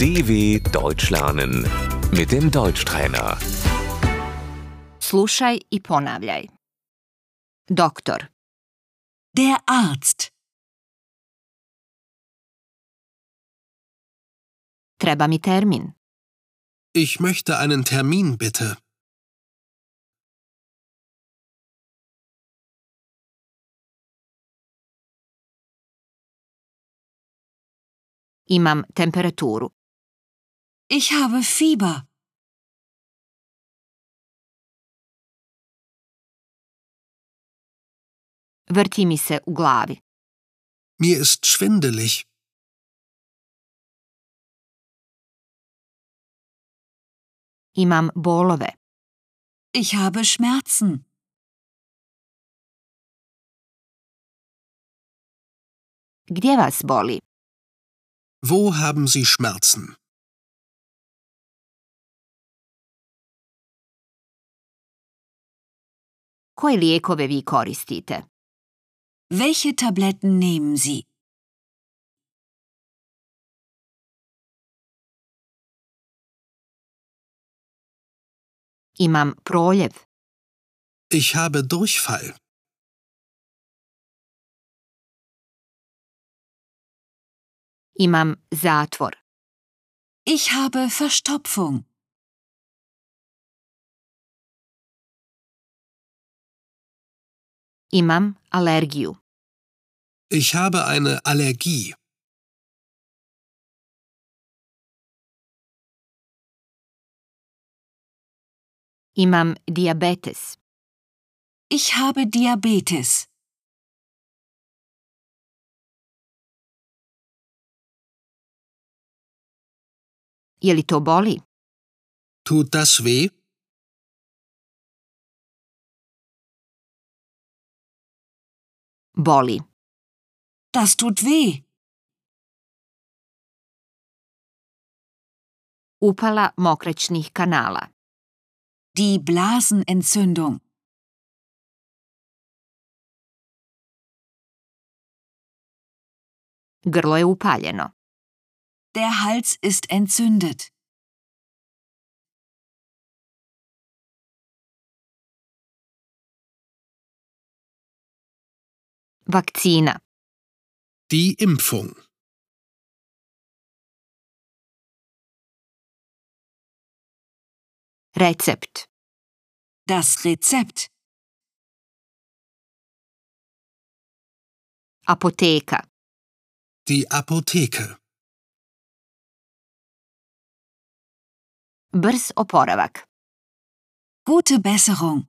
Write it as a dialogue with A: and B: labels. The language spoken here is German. A: DW Deutsch lernen mit dem Deutschtrainer.
B: Slušaj i ponavljaj. Doktor,
C: Der Arzt.
B: treba mi termin.
D: Ich möchte einen Termin bitte.
B: Imam temperaturu.
C: Ich habe Fieber.
B: Vrti mi se u glavi.
D: Mir ist schwindelig.
B: Imam bolove.
C: Ich habe Schmerzen.
B: Gdje vas boli?
D: Wo haben Sie Schmerzen?
B: Koje lijekove vi koristite?
C: Welche Tabletten nehmen Sie?
B: Imam proljev.
D: Ich habe Durchfall.
B: Imam zatvor.
C: Ich habe Verstopfung.
B: Imam alergiju.
D: Ich habe eine Allergie.
B: Imam diabetes.
C: Ich habe Diabetes.
B: Je li to boli?
D: Tut das weh?
B: Boli.
C: Das tut weh.
B: Upala mokračnih kanala.
C: Die Blasenentzündung.
B: Grlo je upaljeno.
C: Der Hals ist entzündet.
B: Vakcina.
D: Die Impfung.
B: Recept.
C: Das Rezept.
B: Apoteka.
D: Die Apotheke.
B: Brz oporavak.
C: Gute Besserung.